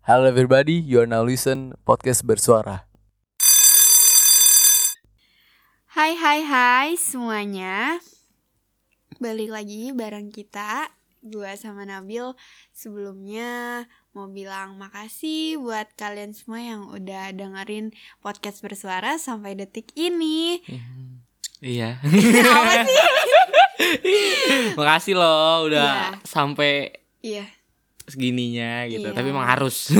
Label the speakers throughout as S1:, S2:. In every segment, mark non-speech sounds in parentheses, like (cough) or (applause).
S1: Hello everybody, you are now listen podcast bersuara.
S2: Hai hai hai semuanya Balik lagi bareng kita Gue sama Nabil Sebelumnya mau bilang makasih buat kalian semua yang udah dengerin podcast bersuara sampai detik ini
S3: Iya.
S2: Apa sih?
S3: (laughs) Makasih loh udah
S2: Iya.
S3: sampai
S2: Iya,
S3: segininya
S2: Iya.
S3: gitu. Tapi emang harus.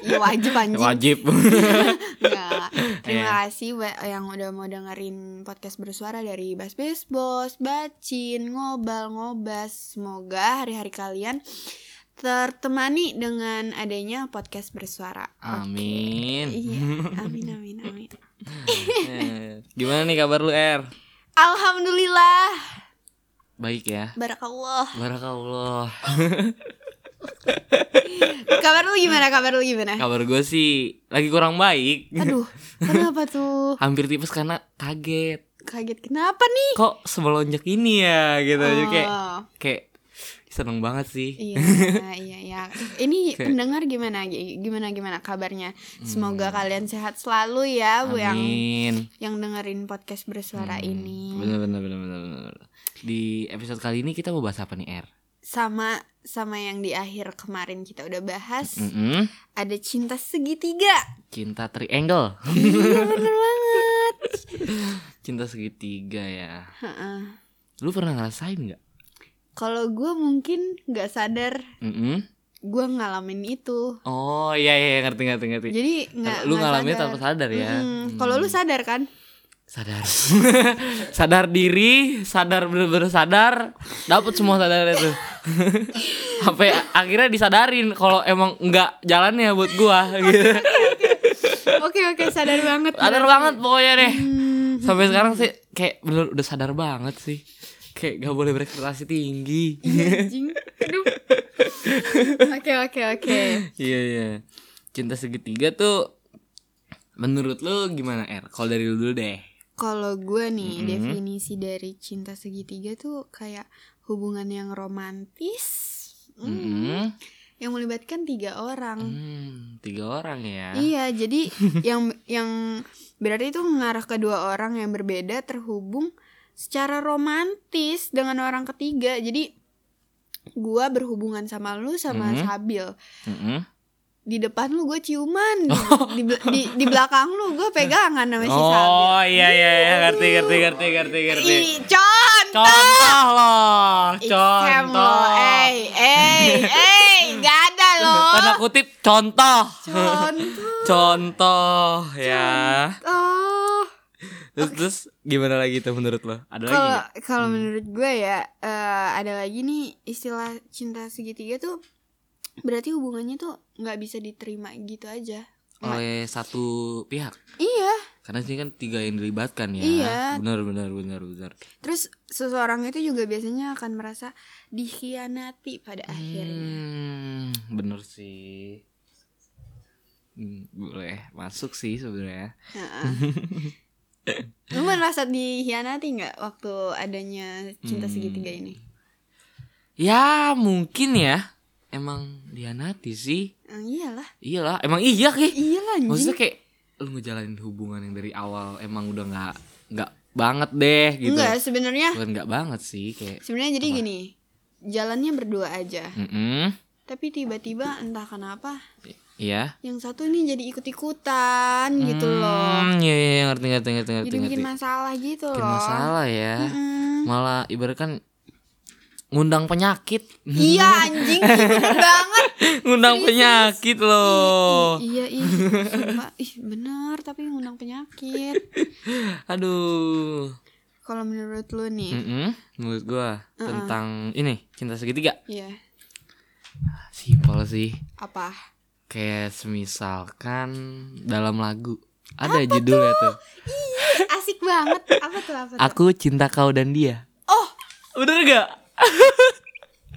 S2: iya wajib anjing
S3: Wajib.
S2: (laughs)
S3: (laughs)
S2: Enggak. Terima
S3: Iya.
S2: kasih buat yang udah mau dengerin podcast bersuara dari Bas Bes Bos, Bacin, Ngobal, Ngobas. Semoga hari-hari kalian tertemani dengan adanya podcast bersuara.
S3: Amin. (laughs)
S2: Iya, amin amin amin.
S3: Eh, Gimana nih kabar lu, Er?
S2: Alhamdulillah,
S3: Baik ya.
S2: barakallah.
S3: Barakallah.
S2: Kabar lu gimana? Kabar lu gimana?
S3: Kabar gue sih lagi kurang baik.
S2: Aduh, kenapa tuh?
S3: Hampir tipes karena kaget.
S2: Kaget kenapa nih?
S3: Kok semelonjak ini ya gitu. Jadi kayak
S2: Oh,
S3: kayak seneng banget sih. (laughs)
S2: iya, iya, iya. Ini pendengar gimana? Gimana gimana kabarnya? Semoga kalian sehat selalu ya, Bu yang
S3: Hmm. Amin. Hmm,
S2: yang dengerin podcast bersuara ini
S3: Bener bener bener bener bener. Di episode kali ini kita mau bahas apa nih, Er?
S2: sama sama yang di akhir kemarin kita udah bahas
S3: Mm-mm.
S2: ada cinta segitiga
S3: Cinta triangle.
S2: iya bener banget
S3: Cinta segitiga ya.
S2: Heeh.
S3: Lu pernah ngerasain nggak?
S2: kalau gue mungkin nggak sadar
S3: Mm-mm.
S2: gue ngalamin itu
S3: Oh iya iya ngerti ngerti ngerti.
S2: jadi nggak
S3: lu
S2: nggak
S3: ngalamin
S2: sadar.
S3: tanpa sadar ya.
S2: Mm-mm. kalau lu sadar kan
S3: Sadar. (laughs) sadar diri, sadar bener-bener sadar, dapat semua sadar itu. (laughs) Sampai akhirnya disadarin kalau emang nggak jalannya buat gua gitu.
S2: oke oke sadar banget
S3: Sadar
S2: bener.
S3: banget pokoknya deh.
S2: Iya, Hmm,
S3: Sampai sekarang sih kayak bener udah sadar banget sih. Kayak gak boleh berekspektasi tinggi.
S2: anjing.
S3: (laughs)
S2: Aduh. oke oke oke
S3: Iya iya. Cinta segitiga tuh menurut lu gimana Er? Kalau dari lu dulu deh.
S2: Kalau gue nih
S3: Mm-mm.
S2: definisi dari cinta segitiga tuh kayak hubungan yang romantis mm,
S3: Mm-mm.
S2: yang melibatkan tiga orang.
S3: Hmm, tiga orang ya.
S2: Iya, jadi (laughs) yang yang berarti itu mengarah ke dua orang yang berbeda terhubung secara romantis dengan orang ketiga. Jadi gua berhubungan sama lu sama
S3: Mhm.
S2: Sabil.
S3: Mm-mm.
S2: Di depan lu gue
S3: (laughs)
S2: ciuman, di, di, di, di belakang lu gue pegangan sama si Sabil.
S3: Oh iya iya iya ngerti ngerti ngerti ngerti ngerti.
S2: Ih, Con!
S3: Contoh loh,
S2: Ikem
S3: contoh.
S2: eh, eh, eh, gak ada loh.
S3: Tanda kutip contoh.
S2: Contoh.
S3: Contoh ya.
S2: Oh,
S3: Terus, terus gimana lagi tuh menurut lo? Ada lagi
S2: kalau
S3: nggak? Hmm.
S2: kalau menurut gue ya eh, ada lagi nih istilah cinta segitiga tuh berarti hubungannya tuh nggak bisa diterima gitu aja. nggak-
S3: oleh satu pihak.
S2: Iya.
S3: Karena sini kan tiga yang dilibatkan ya.
S2: Iya.
S3: Benar benar benar benar.
S2: Terus seseorang itu juga biasanya akan merasa dikhianati pada akhirnya.
S3: Hmm, bener sih. Hmm, boleh masuk sih sebenarnya. (laughs)
S2: Heeh. Lu merasa dikhianati nggak waktu adanya cinta
S3: Hmm.
S2: segitiga ini?
S3: Ya mungkin ya. Emang dianati sih.
S2: Eh, iyalah,
S3: Iyalah, emang iya ki.
S2: iyalah. anjing.
S3: Maksudnya kayak lu ngejalanin hubungan yang dari awal emang udah nggak nggak banget deh gitu.
S2: Enggak, sebenarnya
S3: Bukan nggak banget sih kayak.
S2: sebenarnya jadi gini. Jalannya berdua aja.
S3: Mm-mm,
S2: Tapi tiba-tiba entah kenapa
S3: Iya.
S2: yang satu ini jadi ikut-ikutan gitu loh.
S3: Hmm, Iya iya iya, ngerti ngerti ngerti ngerti.
S2: Jadi bikin
S3: ngerti.
S2: masalah gitu
S3: Bikin
S2: loh. Hmm.
S3: masalah ya.
S2: Mm-mm.
S3: Malah ibaratkan ngundang penyakit. (laughs)
S2: Iya anjing, ih, bener banget.
S3: ngundang penyakit loh.
S2: Iya, iya. Sumpah. Ih, bener tapi ngundang penyakit.
S3: Aduh.
S2: Kalau menurut lu nih,
S3: Mm-mm, menurut gua tentang ini cinta segitiga.
S2: iya,
S3: Simpel sih.
S2: apa?
S3: Kayak semisalkan dalam lagu ada judulnya tuh.
S2: Asik banget. Apa tuh apa tuh?
S3: Aku cinta kau dan dia.
S2: Oh,
S3: Bener gak?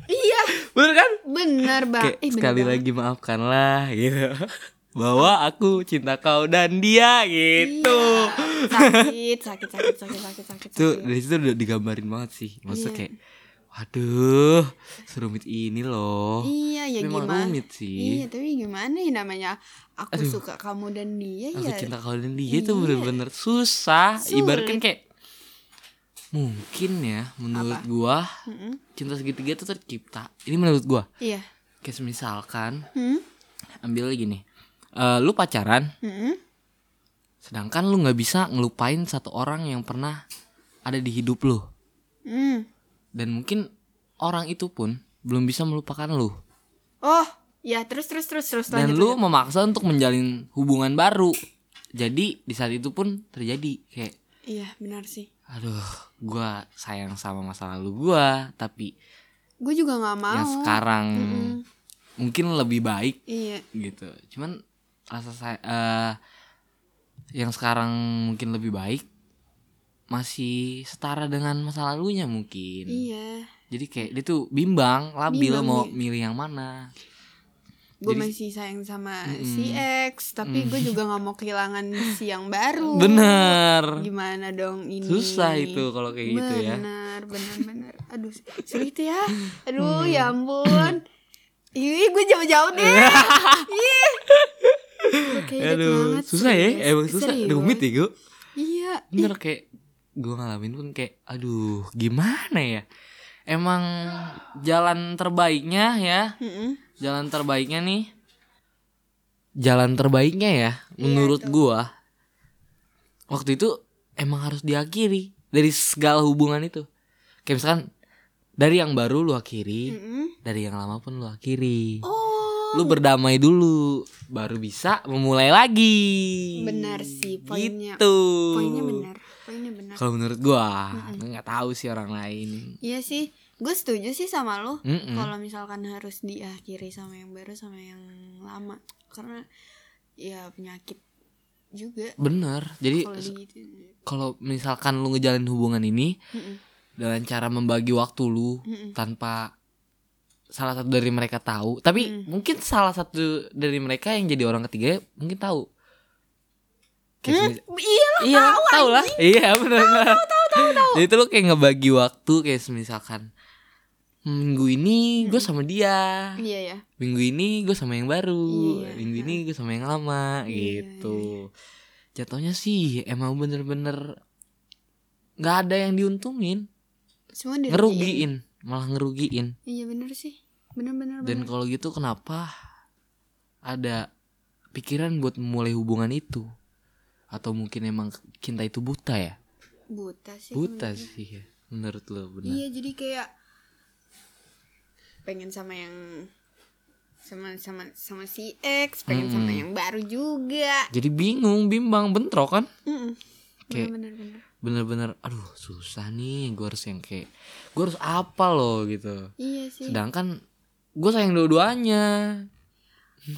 S2: iya.
S3: Bener kan?
S2: Eh, Bener, Bang.
S3: Kayak sekali lagi maafkanlah gitu. (laughs) Bahwa aku cinta kau dan dia gitu.
S2: Iya. Sakit, sakit, sakit, sakit, sakit, sakit.
S3: Itu
S2: sakit.
S3: dari situ udah digambarin banget sih. Maksudnya
S2: Iya.
S3: kayak Waduh, serumit ini loh.
S2: Iya ya
S3: Memang
S2: gimana?
S3: rumit
S2: Iya
S3: sih.
S2: tapi gimana ya namanya aku
S3: Aduh.
S2: suka kamu dan dia
S3: Aku
S2: ya.
S3: cinta kalau dan dia
S2: Iya.
S3: tuh bener-bener susah.
S2: Sulit.
S3: Ibaratkan kayak mungkin ya menurut gua
S2: Mm-mm.
S3: cinta segitiga tuh tercipta. Ini menurut gua.
S2: Iya.
S3: Kayak misalkan
S2: Hmm?
S3: ambil lagi nih. Eh, lu pacaran,
S2: Mm-mm.
S3: sedangkan lu nggak bisa ngelupain satu orang yang pernah ada di hidup lu.
S2: Mm.
S3: Dan mungkin orang itu pun belum bisa melupakan lu.
S2: Oh ya terus terus terus terus
S3: dan
S2: lanjut,
S3: lu
S2: lanjut.
S3: memaksa untuk menjalin hubungan baru jadi di saat itu pun terjadi kayak
S2: Iya benar sih.
S3: aduh gua sayang sama masa lalu gua tapi
S2: Gue juga nggak mau.
S3: yang sekarang
S2: Mm-mm.
S3: mungkin lebih baik
S2: Iya.
S3: gitu cuman rasa saya eh, yang sekarang mungkin lebih baik masih setara dengan masa lalunya mungkin
S2: Iya.
S3: jadi kayak dia tuh bimbang labil
S2: Bimbang,
S3: mau
S2: iya.
S3: milih yang mana
S2: Gue
S3: Jadi- Hmm.
S2: masih sayang sama
S3: Mm-mm.
S2: si X, tapi gue juga nggak mau kehilangan si yang baru.
S3: bener
S2: Gimana dong ini?
S3: susah itu kalau kayak gitu ya
S2: Benar, benar, benar. Aduh, sulit
S3: (laughs)
S2: ya. Aduh,
S3: Hmm.
S2: ya ampun. Ih, gue jauh-jauh
S3: (laughs)
S2: deh. Ih. Gue kayak inget
S3: Aduh,
S2: Iya, banget,
S3: susah ya,
S2: serius.
S3: emang susah,
S2: Serius.
S3: rumit ya gue
S2: Iya.
S3: Bener kayak, gue ngalamin pun kayak, aduh gimana ya Emang jalan terbaiknya ya,
S2: Mm-mm.
S3: jalan terbaiknya nih Jalan terbaiknya ya,
S2: Iya,
S3: menurut gua Waktu itu emang harus diakhiri dari segala hubungan itu Kayak misalkan, dari yang baru lu akhiri,
S2: Mm-mm.
S3: dari yang lama pun lu akhiri
S2: Oh,
S3: lu berdamai dulu baru bisa memulai lagi
S2: Benar sih, poinnya-
S3: gitu.
S2: poinnya benar. Poinnya benar.
S3: kalau menurut gua nggak tahu sih orang lain
S2: Iya sih. Gue setuju sih sama lo.
S3: Mm-mm.
S2: Kalau misalkan harus diakhiri sama yang baru sama yang lama karena ya penyakit juga
S3: bener jadi
S2: kalau
S3: se-
S2: di
S3: kalau misalkan lu ngejalin hubungan ini
S2: Mm-mm.
S3: dengan cara membagi waktu lu
S2: Mm-mm.
S3: tanpa salah satu dari mereka tahu tapi
S2: Mm.
S3: mungkin salah satu dari mereka yang jadi orang ketiga mungkin tahu Kayak semi-
S2: Iya lo
S3: iya tahu lah iya benar tahu tahu tahu jadi itu lo kayak ngebagi waktu kayak misalkan minggu ini gue sama dia
S2: Iya ya.
S3: minggu ini gue sama yang baru
S2: Iya.
S3: minggu ini gue sama yang lama
S2: Iya,
S3: gitu jatuhnya sih emang bener-bener nggak ada yang diuntungin
S2: Semua dirugiin.
S3: ngerugiin malah ngerugiin
S2: Iya bener sih. Bener-bener
S3: dan kalau gitu kenapa ada pikiran buat memulai hubungan itu atau mungkin emang cinta itu buta
S2: Iya,
S3: ya
S2: buta sih.
S3: buta
S2: menurut
S3: sih ya menurut lo
S2: gue.
S3: benar
S2: Iya jadi kayak pengen sama yang sama sama sama si X, pengen sama yang baru juga.
S3: jadi bingung bimbang bentrok kan
S2: Mm-mm.
S3: Kayak-
S2: Bener-bener bener.
S3: bener-bener aduh susah nih gue harus yang kayak gue harus apa loh gitu
S2: Iya sih.
S3: sedangkan gue sayang dua-duanya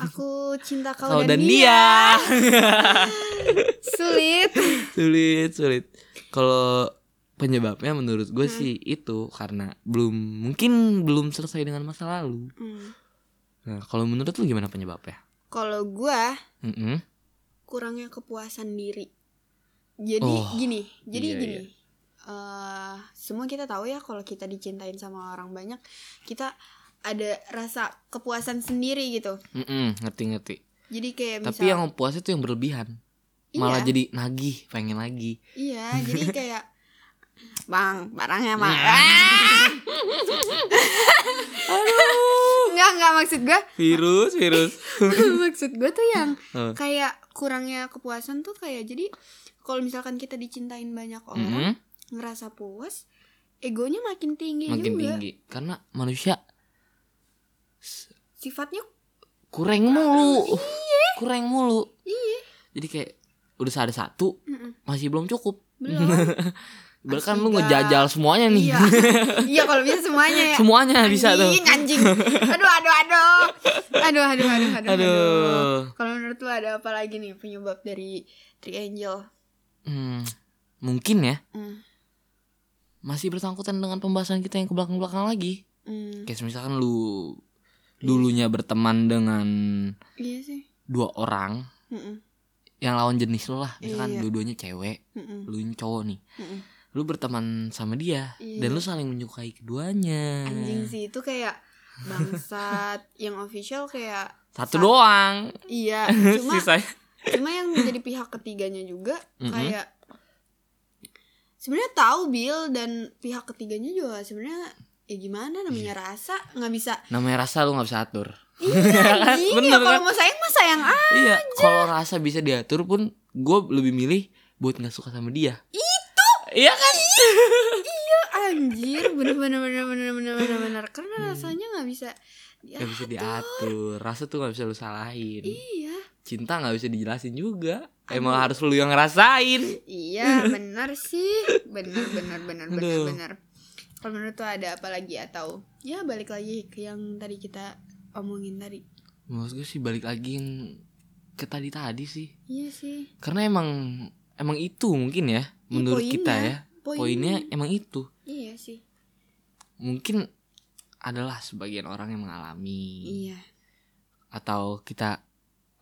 S2: Aku cinta kau,
S3: kau
S2: dan,
S3: dan
S2: dia.
S3: dia (laughs)
S2: Sulit. (laughs)
S3: sulit sulit kalau penyebabnya menurut gue
S2: Hmm.
S3: sih itu karena belum mungkin belum selesai dengan masa lalu
S2: Hmm.
S3: nah kalau menurut lu gimana penyebabnya
S2: Kalau gua
S3: Mm-mm.
S2: kurangnya kepuasan diri. Jadi
S3: Oh,
S2: gini, jadi
S3: iya,
S2: gini.
S3: iya.
S2: Eh, semua kita tahu ya kalau kita dicintain sama orang banyak, kita ada rasa kepuasan sendiri gitu.
S3: Mm-mm, ngerti ngerti
S2: Jadi kayak
S3: tapi
S2: misal-
S3: yang puas itu yang berlebihan
S2: Iya.
S3: malah jadi nagih pengen lagi
S2: iya,
S3: (laughs)
S2: jadi kayak Bang, barangnya Bang.
S3: Iya.
S2: (laughs) Enggak, enggak maksud gua. (laughs)
S3: virus virus
S2: maksud gue tuh yang
S3: Apa?
S2: kayak kurangnya kepuasan tuh kayak jadi kalau misalkan kita dicintain banyak orang
S3: Mm-mm,
S2: ngerasa puas egonya makin tinggi
S3: makin
S2: Iya juga
S3: tinggi karena manusia
S2: sifatnya
S3: kurang mulu
S2: Iya.
S3: kurang mulu jadi kayak udah ada satu
S2: Mm-mm.
S3: masih belum cukup (laughs)
S2: belum
S3: bahkan
S2: Asli,
S3: lu
S2: Kak.
S3: ngejajal semuanya nih (laughs)
S2: iya iya kalau bisa semuanya ya
S3: semuanya bisa tuh
S2: anjing anjing aduh aduh aduh aduh aduh aduh aduh, aduh.
S3: Aduh.
S2: kalau menurut lu ada apa lagi nih penyebab dari Three Angel
S3: Hmm, mungkin ya
S2: Hmm.
S3: masih bersangkutan dengan pembahasan kita yang ke belakang belakang lagi
S2: Hmm,
S3: kayak misalkan lu dulunya berteman dengan
S2: iya sih Hmm,
S3: dua orang
S2: Mm-mm,
S3: yang lawan jenis lu lah
S2: Iya.
S3: misalkan dua-duanya cewek
S2: mm-mm,
S3: lu ini cowok nih
S2: mm-mm.
S3: lu berteman sama dia
S2: Iya.
S3: dan lu saling menyukai keduanya
S2: anjing sih itu kayak
S3: (laughs)
S2: bangsat yang official kayak
S3: satu doang
S2: iya (laughs) cuma
S3: sisanya
S2: cuma yang menjadi pihak ketiganya juga
S3: Mhm.
S2: kayak sebenarnya tahu Bill dan pihak ketiganya juga sebenarnya ya gimana namanya
S3: Iya.
S2: rasa nggak
S3: (laughs)
S2: bisa
S3: namanya rasa lu nggak bisa atur
S2: iya anjing, ya
S3: Bener
S2: kalau
S3: kan?
S2: mau sayang mah sayang ah
S3: iya kalau rasa bisa diatur pun gue lebih milih buat nggak suka sama dia itu iya kan
S2: anjir bener bener bener bener bener bener bener karena
S3: Hmm.
S2: rasanya nggak bisa ya,
S3: nggak bisa diatur rasa tuh nggak bisa lu salahin
S2: iya
S3: cinta nggak bisa dijelasin juga emang harus lu yang ngerasain
S2: iya
S3: (laughs)
S2: bener sih bener bener bener bener
S3: Aduh.
S2: bener kalau menurut tuh ada apa lagi atau ya balik lagi ke yang tadi kita omongin tadi
S3: menurut gue sih balik lagi yang ke tadi tadi sih
S2: iya sih
S3: karena emang emang itu mungkin ya menurut
S2: poinnya,
S3: kita ya
S2: poinnya.
S3: poinnya emang itu
S2: iya sih
S3: mungkin adalah sebagian orang yang mengalami
S2: iya
S3: atau kita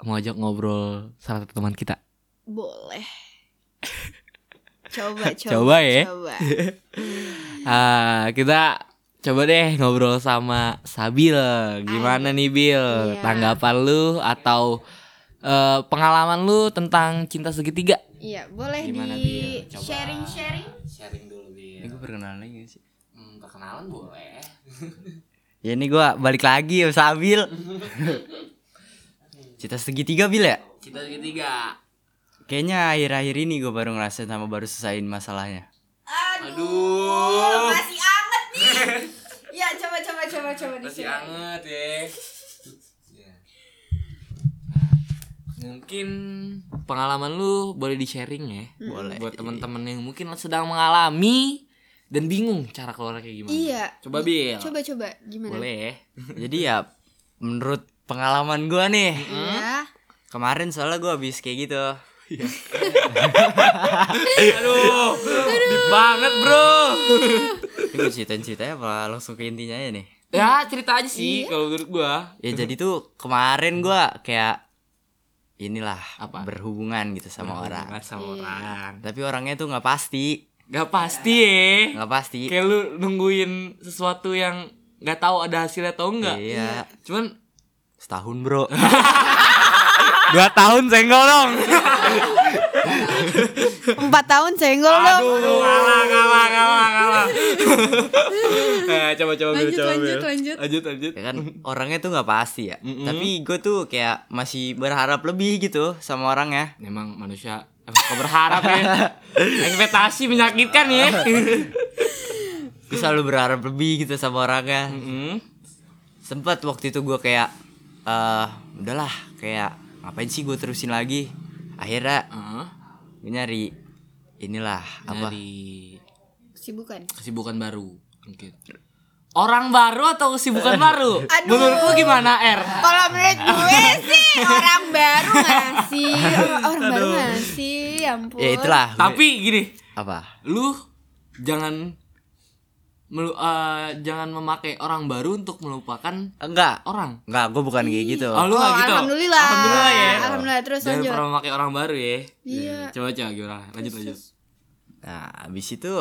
S3: mau ajak ngobrol salah satu teman kita (laughs)
S2: Boleh. Coba, coba.
S3: Coba ya.
S2: coba.
S3: Ah, kita coba deh ngobrol sama Sabil. Gimana nih Bil?
S2: Iya.
S3: Tanggapan lu atau eh, pengalaman lu tentang cinta segitiga?
S2: Iya, boleh
S3: Gimana,
S2: di
S3: Bil? Coba.
S2: sharing-sharing.
S3: Sharing dulu Bil. Hmm,
S4: Ini gue perkenalan lagi gak sih?
S3: perkenalan boleh.
S4: Ya ini gue balik lagi ya Sabil Cita segitiga Bil ya?
S3: Cinta segitiga.
S4: Kayaknya akhir-akhir ini gue baru ngerasain sama baru selesain masalahnya
S3: Oh.
S2: Aduh, masih anget
S3: (laughs)
S2: nih. Iya, coba coba coba coba di
S4: Iya.
S3: Masih
S2: sharing.
S3: anget ya. Ya. Mungkin pengalaman lu boleh di-sharing ya.
S2: Hmm.
S4: Boleh.
S3: Buat teman-teman yang mungkin sedang mengalami dan bingung cara keluarnya kayak gimana.
S2: Iya.
S3: Coba Bil.
S2: Coba coba gimana?
S3: Boleh ya.
S4: (laughs) Jadi ya menurut pengalaman gue nih
S2: Iya.
S4: Kemarin soalnya gue habis kayak gitu
S3: Iya. (laughs) Aduh, deep banget, Bro.
S4: Ini gue ceritain-ceritanya apa langsung ke intinya aja nih
S3: Ya, cerita aja sih
S2: Iya.
S3: kalau menurut gua.
S4: Ya jadi tuh kemarin gue kayak Inilah
S3: Apa?
S4: berhubungan gitu sama orang
S3: Banget Iya, sama
S2: Iya.
S3: orang.
S4: Tapi orangnya tuh gak pasti
S3: Gak pasti ya.
S4: Gak pasti
S3: Kayak lu nungguin sesuatu yang gak tahu ada hasilnya atau enggak.
S4: Iya.
S3: Cuman
S4: Setahun bro
S3: dua tahun senggol dong.
S2: Empat tahun senggol dong.
S3: Aduh, kalah, kalah, kalah, kalah. nah, coba coba
S2: Lanjut,
S3: Bil, coba
S2: lanjut,
S3: Bil.
S2: lanjut.
S3: Lanjut, lanjut.
S4: ya kan orangnya tuh nggak pasti ya tapi gue tuh kayak masih berharap lebih gitu sama orangnya
S3: Memang manusia emang suka berharap
S4: (laughs)
S3: ya. Ekspektasi menyakitkan ya.
S4: gue selalu berharap lebih gitu sama orangnya
S3: Hmm.
S4: sempat waktu itu gue kayak eh udahlah kayak ngapain sih gue terusin lagi akhirnya
S3: Heeh.
S4: gue nyari inilah apa
S3: Dari
S2: Sibukan.
S3: kesibukan baru mungkin. Orang baru atau kesibukan
S4: Eh. (laughs)
S3: baru? Menurut lu gimana, Er? R?
S2: Kalau menurut gue sih orang baru nggak sih? Orang, orang baru nggak sih? Ya ampun.
S4: ya itulah gue-
S3: Tapi gini,
S4: apa
S3: lu jangan melu, eh, jangan memakai orang baru untuk melupakan
S4: enggak
S3: orang.
S4: enggak gue bukan kayak gitu
S3: Oh, lu
S2: Oh,
S3: nggak gitu.
S2: alhamdulillah.
S3: Alhamdulillah ya.
S2: Alhamdulillah, terus
S3: Jangan
S2: lanjut.
S3: pernah memakai orang baru ya.
S2: Iya.
S3: Coba coba gimana? Lanjut lanjut.
S4: nah abis itu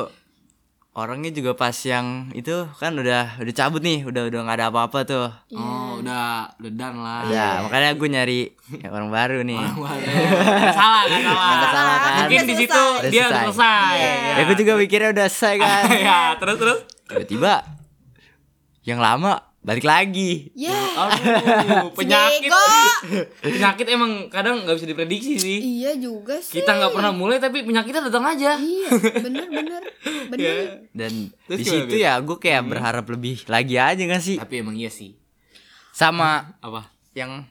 S4: orangnya juga pas yang itu kan udah udah cabut nih udah udah nggak ada apa-apa tuh
S3: Oh,
S2: Iya.
S3: udah udah done lah.
S4: Ya, makanya gue nyari orang baru nih.
S3: Wah, nggak salah, nggak salah.
S4: Nggak salah, kan?
S3: Mungkin
S2: Udah
S3: di situ
S2: selesai. Iya.
S3: dia
S4: Udah
S3: udah selesai. Iya.
S4: selesai. Ya gue juga mikirnya udah selesai
S3: (laughs)
S4: kan.
S3: ya, terus terus.
S4: Tiba-tiba yang lama balik lagi.
S2: Ya.
S3: Aduh, Oh, (laughs) penyakit.
S2: Bego.
S3: penyakit emang kadang nggak bisa diprediksi sih.
S2: Iya juga sih.
S3: Kita nggak pernah mulai tapi penyakitnya datang aja.
S2: Iya, bener
S3: (laughs)
S2: bener
S3: Ya.
S2: bener.
S4: Dan
S3: Terus
S4: di
S3: gimana,
S4: situ
S3: Bin?
S4: ya gue kayak berharap lebih lagi aja gak sih?
S3: Tapi emang iya sih.
S4: Sama
S3: Apa?
S4: yang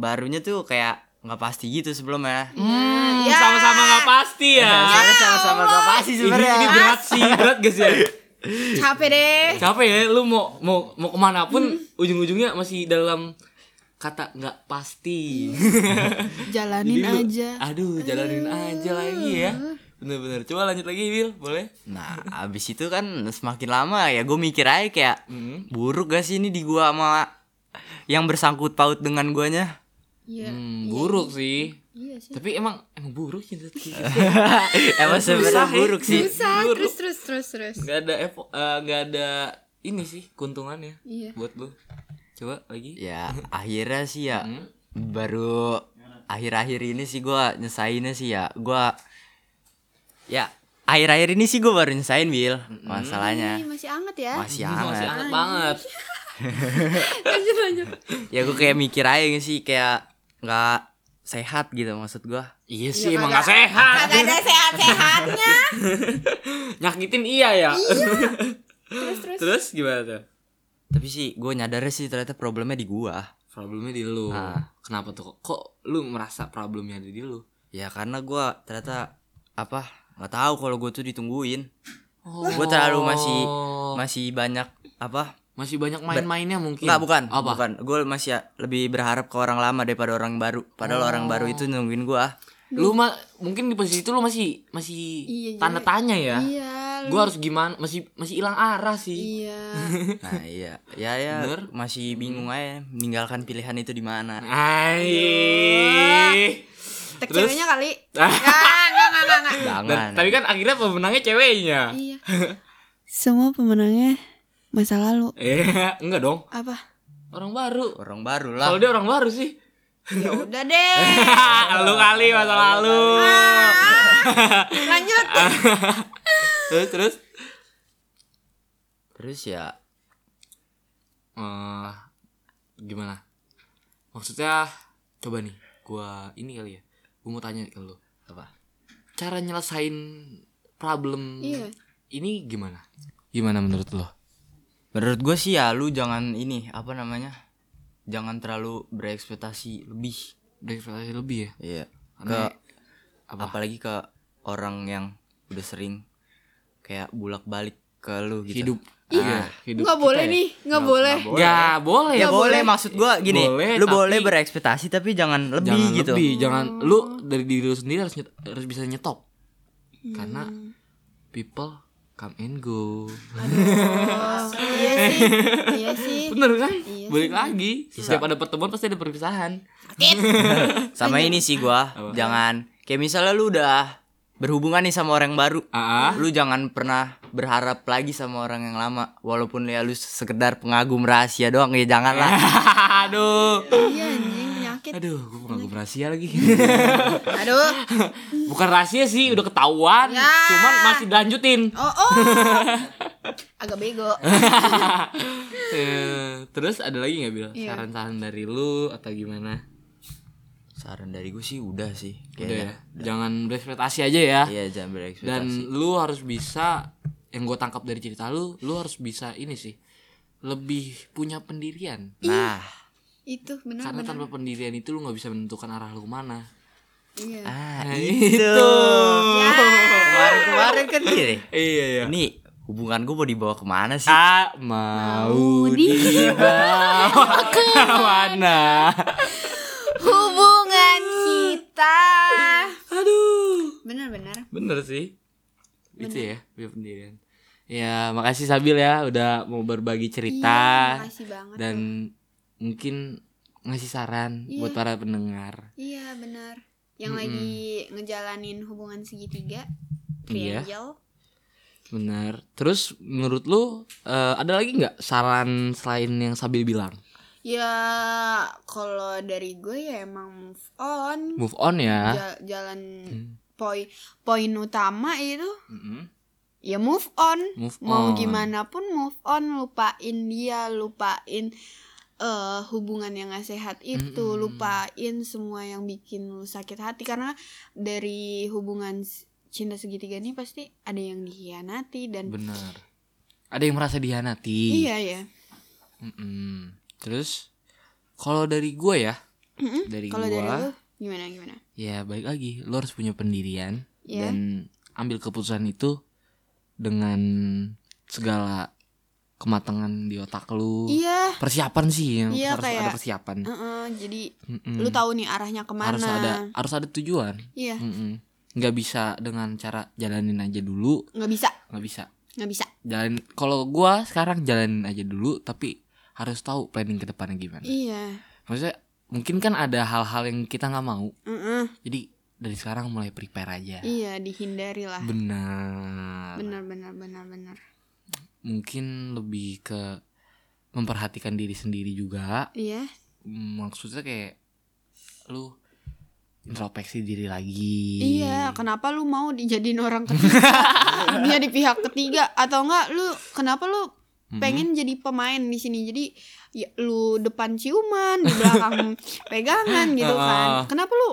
S4: barunya tuh kayak nggak pasti gitu sebelumnya.
S3: Hmm, sama-sama nggak pasti ya.
S4: Soalnya Iya, sama-sama nggak pasti
S3: Ini,
S4: sebenarnya.
S3: ini berat
S4: (laughs)
S3: sih, berat gak sih? ya?
S2: Capek deh.
S3: capek ya lu mau mau mau kemana pun ujung-ujungnya masih dalam kata nggak (laughs) pasti
S2: Jalanin
S3: Jadi lu, Ah,
S2: aja.
S3: aduh jalanin aja lagi ya bener-bener coba lanjut lagi Will boleh
S4: Nah, abis itu kan semakin lama ya gue mikir aja kayak buruk gak sih ini di gua sama yang bersangkut paut dengan guanya?
S2: Iya.
S3: hmm, buruk sih
S2: Iya sih.
S3: Tapi emang emang buruk cinta kita.
S4: (laughs) Emang sebenarnya
S3: Susah, ya.
S4: buruk sih.
S2: Susah,
S3: buruk.
S2: terus terus terus terus.
S3: Gak ada epo, eh, nggak ada ini sih keuntungannya
S2: Iya.
S3: buat lu. Coba lagi.
S4: Ya akhirnya sih ya baru akhir-akhir ini sih gua nyesainnya sih ya gua ya akhir-akhir ini sih gua baru nyesain Bill
S2: Ini
S4: masalahnya
S2: masih anget ya.
S4: masih
S3: Masih
S4: hangat
S3: anget banget.
S2: (laughs) Lanjut lanjut.
S4: ya gua kayak mikir aja sih kayak nggak sehat gitu maksud gua
S3: Iya sih emang gak sehat.
S2: Gak ada sehat-sehatnya.
S3: Nyakitin iya ya.
S2: terus terus.
S3: (laughs) Terus gimana tuh?
S4: tapi sih gua nyadar sih ternyata problemnya di gua
S3: Problemnya di lu.
S4: Ah.
S3: Kenapa tuh? Kok, kok lu merasa problemnya ada di lu?
S4: ya karena gua ternyata apa nggak tahu kalau gua tuh ditungguin
S3: Oh.
S4: Gua terlalu masih- masih banyak apa
S3: masih banyak main-mainnya Oh. mungkin.
S4: Enggak bukan
S3: Apa?
S4: bukan gue masih ya lebih berharap ke orang lama daripada orang baru padahal orang baru
S3: Oh.
S4: itu nungguin gue
S3: Lu mah mungkin di posisi itu lu masih masih
S2: Iya, jadi-
S3: tanda tanya ya.
S2: Iya. lu-
S3: Gua harus gimana? Masih masih hilang arah sih. (laughs)
S2: Iya.
S4: nah iya ya ya
S3: Bener. Nah,
S4: masih bingung aja meninggalkan pilihan itu di mana
S3: Ai.
S2: Tek
S3: Terus?
S2: ceweknya
S3: (laughs)
S2: kali. Enggak, enggak, enggak, enggak.
S4: jangan
S3: Dan, tapi kan akhirnya pemenangnya ceweknya.
S2: Iya. Semua pemenangnya masa lalu.
S3: Eh, enggak dong.
S2: Apa?
S3: Orang baru.
S4: orang baru lah
S3: Kalau dia orang baru sih.
S2: Ya udah deh.
S3: (laughs) lu kali masa lalu. (laughs)
S2: Lanjut.
S3: Ah. terus terus
S4: terus ya
S3: Eh, gimana? Maksudnya coba nih, gua ini kali ya. Gua mau tanya ke lu.
S4: apa
S3: Cara nyelesain problem
S2: Iya.
S3: ini gimana? Gimana menurut lo?
S4: menurut gue sih ya lu jangan ini apa namanya jangan terlalu berekspektasi lebih
S3: Berekspektasi lebih ya?
S4: iya
S3: Karena-
S4: ke apalagi ke orang yang udah sering kayak bulak balik ke lu gitu
S3: Hidup.
S4: Iya.
S3: hidup.
S2: Enggak boleh
S3: kita ya.
S2: nih, enggak boleh.
S4: nggak
S3: Nggak Eh, boleh.
S4: Ya boleh, maksud gua gini,
S3: Boleh,
S4: lu
S3: tapi-
S4: boleh berekspektasi tapi jangan lebih
S3: jangan
S4: gitu.
S3: lebih jangan lu dari diri lu sendiri harus nyet- harus bisa nyetop
S4: Iya.
S3: karena people come and
S4: (laughs)
S3: go Iya.
S2: Oh, iya sih. Iya sih.
S3: bener kan
S2: Iya
S3: balik lagi setiap ada pertemuan pasti ada
S4: (laughs)
S3: perpisahan
S4: Sama ini sih gua, jangan kayak misalnya lu udah berhubungan nih sama orang baru.
S3: Ah.
S4: Lu jangan pernah berharap lagi sama orang yang lama walaupun ya lu sekedar pengagum rahasia doang ya
S3: (laughs)
S4: janganlah.
S3: aduh
S2: Iya anjing penyakit.
S3: aduh gue pengagum rahasia lagi (laughs)
S2: Aduh.
S3: bukan rahasia sih udah ketahuan
S2: Ya.
S3: cuman masih dilanjutin
S2: Oh, oh. Agak
S3: (laughs)
S2: bego.
S3: Eh, terus ada lagi nggak bil
S2: Iya.
S3: saran-saran dari lu atau gimana
S4: Saran dari gua sih udah sih
S3: udah ya
S4: kayaknya.
S3: jangan berekspektasi aja ya
S4: Iya, jangan
S3: dan
S4: berekspektasi.
S3: lu harus bisa yang gue tangkap dari cerita lu lu harus bisa ini sih lebih punya pendirian
S4: Nah,
S2: Itu
S3: karena
S2: benar-benar.
S3: tanpa pendirian itu lu nggak bisa menentukan arah lu kemana
S2: Iya.
S4: ah
S3: Nah,
S4: itu. Kemarin-kemarin kan gini.
S3: iya iya
S4: Ini hubungan gua mau dibawa kemana sih?
S3: tak
S2: (laughs)
S3: mau dibawa kemana
S2: Hubungan kita.
S3: aduh
S2: Benar-benar.
S3: bener sih itu ya punya pendirian ya makasih Sabil ya udah mau berbagi cerita
S2: Iya, makasih banget.
S3: dan mungkin ngasih saran
S2: Iya.
S3: buat para pendengar
S2: Iya, benar. Yang lagi ngejalanin hubungan segitiga,
S3: Iya.
S2: triangle.
S3: Benar. Terus menurut lu eh, ada lagi nggak saran selain yang Sabil bilang?
S2: Ya, kalau dari gue ya emang move on.
S3: Move on Hmm. ya.
S2: Ja- jalan poi- poin utama itu
S3: Mm-mm.
S2: ya move on.
S3: Move
S2: Mau
S3: on.
S2: gimana pun move on, lupain dia, lupain eh hubungan yang gak sehat itu,
S3: Mm-mm.
S2: lupain semua yang bikin lu sakit hati karena dari hubungan s- cinta segitiga ini pasti ada yang dikhianati dan
S3: Benar. Ada yang merasa dihianati.
S2: iya ya.
S3: Mm-mm. Terus kalau dari gue ya,
S2: Mm-mm.
S3: dari
S2: Kalau dari lu
S3: gue
S2: gimana gimana?
S3: ya balik lagi lu harus punya pendirian
S2: Iya.
S3: dan ambil keputusan itu dengan segala kematangan di otak lu.
S2: Iya.
S3: Persiapan sih yang
S2: Iya,
S3: harus ada
S2: kayak-
S3: persiapan.
S2: Heeh, jadi
S3: Mm-mm.
S2: lu tahu nih arahnya kemana.
S3: Hmm. harus ada harus ada tujuan.
S2: Iya,
S3: Mm-mm. nggak bisa dengan cara jalanin aja dulu
S2: nggak bisa,
S3: nggak bisa
S2: nggak bisa.
S3: jalan kalau gua sekarang jalanin aja dulu tapi harus tahu planning ke depannya gimana
S2: Iya.
S3: maksudnya mungkin kan ada hal-hal yang kita nggak mau
S2: Mm-mm.
S3: jadi dari sekarang mulai prepare aja
S2: Iya dihindari lah.
S3: benar
S2: Bener bener bener bener.
S3: mungkin lebih ke memperhatikan diri sendiri juga
S2: Iya.
S3: maksudnya kayak lu introspeksi diri lagi
S2: Iya. Kenapa lu mau dijadiin orang ketiga? Dia di pihak ketiga atau enggak? Lu kenapa lu pengen jadi pemain di sini? Jadi ya, lu depan ciuman, di belakang pegangan gitu kan. Kenapa lu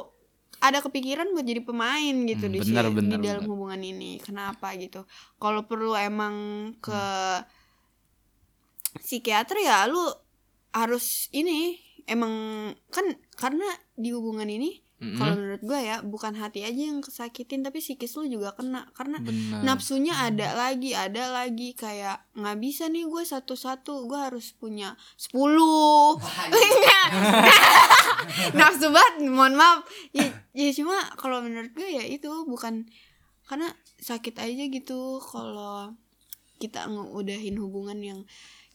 S2: ada kepikiran buat jadi pemain gitu
S3: Hmm,
S2: di
S3: bener,
S2: si-
S3: bener,
S2: di dalam
S3: bener.
S2: hubungan ini? Kenapa gitu? Kalau perlu emang ke psikiater ya lu harus ini emang kan karena di hubungan ini
S3: Mm-mm.
S2: kalau menurut gue ya bukan hati aja yang kesakitin tapi psikis lu juga kena karena
S3: benar Hmm.
S2: nafsunya ada lagi ada lagi kayak nggak bisa nih gue satu-satu gue harus punya sepuluh (laughs) nafsu banget mohon maaf ya, ya cuma kalau menurut gue ya itu bukan karena sakit aja gitu kalau kita ngeudahin hubungan yang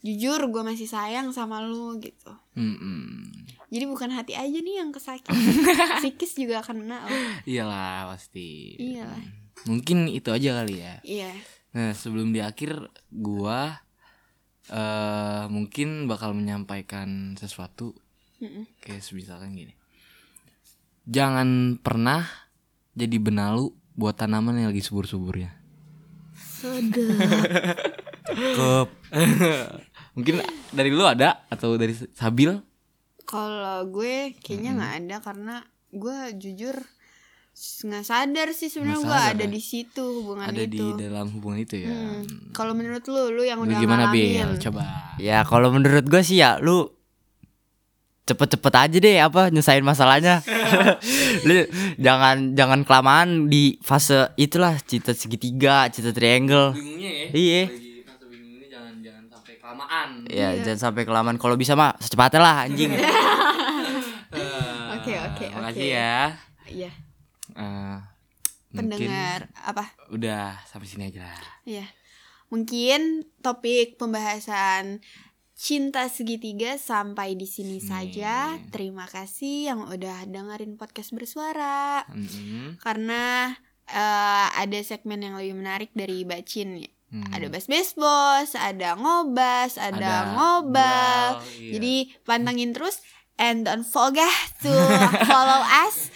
S2: jujur gue masih sayang sama lu gitu
S3: Mm-mm.
S2: jadi bukan hati aja nih yang
S3: (laughs)
S2: kesakitan psikis juga kena oh, loh.
S3: iyalah pasti
S2: Iyalah.
S3: mungkin itu aja kali ya
S2: iya
S3: Nah, sebelum di akhir gua eh mungkin bakal menyampaikan sesuatu
S2: Mm-mm.
S3: kayak misalkan gini. Jangan pernah jadi benalu buat tanaman yang lagi subur-suburnya. mungkin dari lu ada atau dari Sabil?
S2: Kalau gue kayaknya nggak ada karena gue jujur s- nggak sadar sih sebenarnya
S3: Nggak
S2: gue
S3: sadar
S2: ada
S3: ya?
S2: di situ hubungan
S3: ada di
S2: itu.
S3: dalam hubungan itu ya.
S2: Hmm. Kalau menurut lu, lu yang
S3: Lu
S2: udah
S3: gimana
S2: ngalamin.
S3: Bil? Coba.
S4: Ya kalau menurut gue sih ya lu cepet-cepet aja deh apa nyelesain
S3: (laughs)
S4: masalahnya. lu jangan jangan kelamaan di fase itulah cita segitiga, cita triangle.
S3: Bingungnya ya.
S4: Iya.
S3: bingungnya jangan jangan sampai kelamaan.
S4: Ya jangan sampai kelamaan kalau bisa mah secepatnya lah
S3: (laughs)
S4: anjing.
S2: Oke oke oke.
S3: Ah, Makasih ya.
S2: Iya.
S3: Eh, mungkin
S2: Pendengar apa?
S3: udah sampai sini aja lah.
S2: Iya. Mungkin topik pembahasan cinta segitiga sampai di sini saja. Terima kasih yang udah dengerin podcast bersuara.
S3: Mm-mm.
S2: karena eh, ada segmen yang lebih menarik dari Bacin ya.
S3: Hmm.
S2: Ada bas-bas bos, ada ngobas, ada,
S3: Ada
S2: ngobal.
S3: ngobal, iya.
S2: Jadi pantengin terus and don't forget to follow
S3: (laughs)
S2: us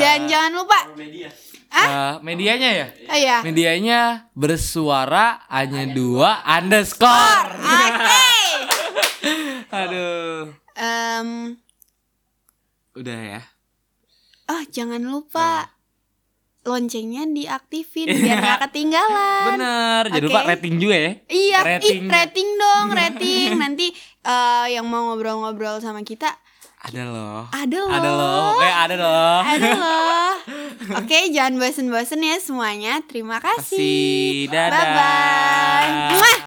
S2: dan jangan lupa
S3: Eh, medianya ya?
S2: oh ya.
S3: Medianya bersuara hanya dua underscore.
S2: Oke.
S3: Aduh.
S2: Em,
S3: Udah ya.
S2: oh jangan
S3: Nah.
S2: lupa loncengnya diaktifin
S3: (laughs)
S2: biar nggak ketinggalan.
S3: Bener. Jangan lupa
S2: Oke.
S3: rating juga ya.
S2: Iya, rating.
S3: Rating.
S2: rating
S3: (laughs)
S2: dong, rating. Nanti eh, yang mau ngobrol-ngobrol sama kita
S3: Ada loh.
S2: ada loh.
S3: Ada loh. Eh, Kayak ada loh.
S2: Ada
S3: (laughs)
S2: loh. Oke, jangan bosen-bosen ya semuanya. Terima kasih.
S3: Kasih. Dadah.
S2: Bye bye.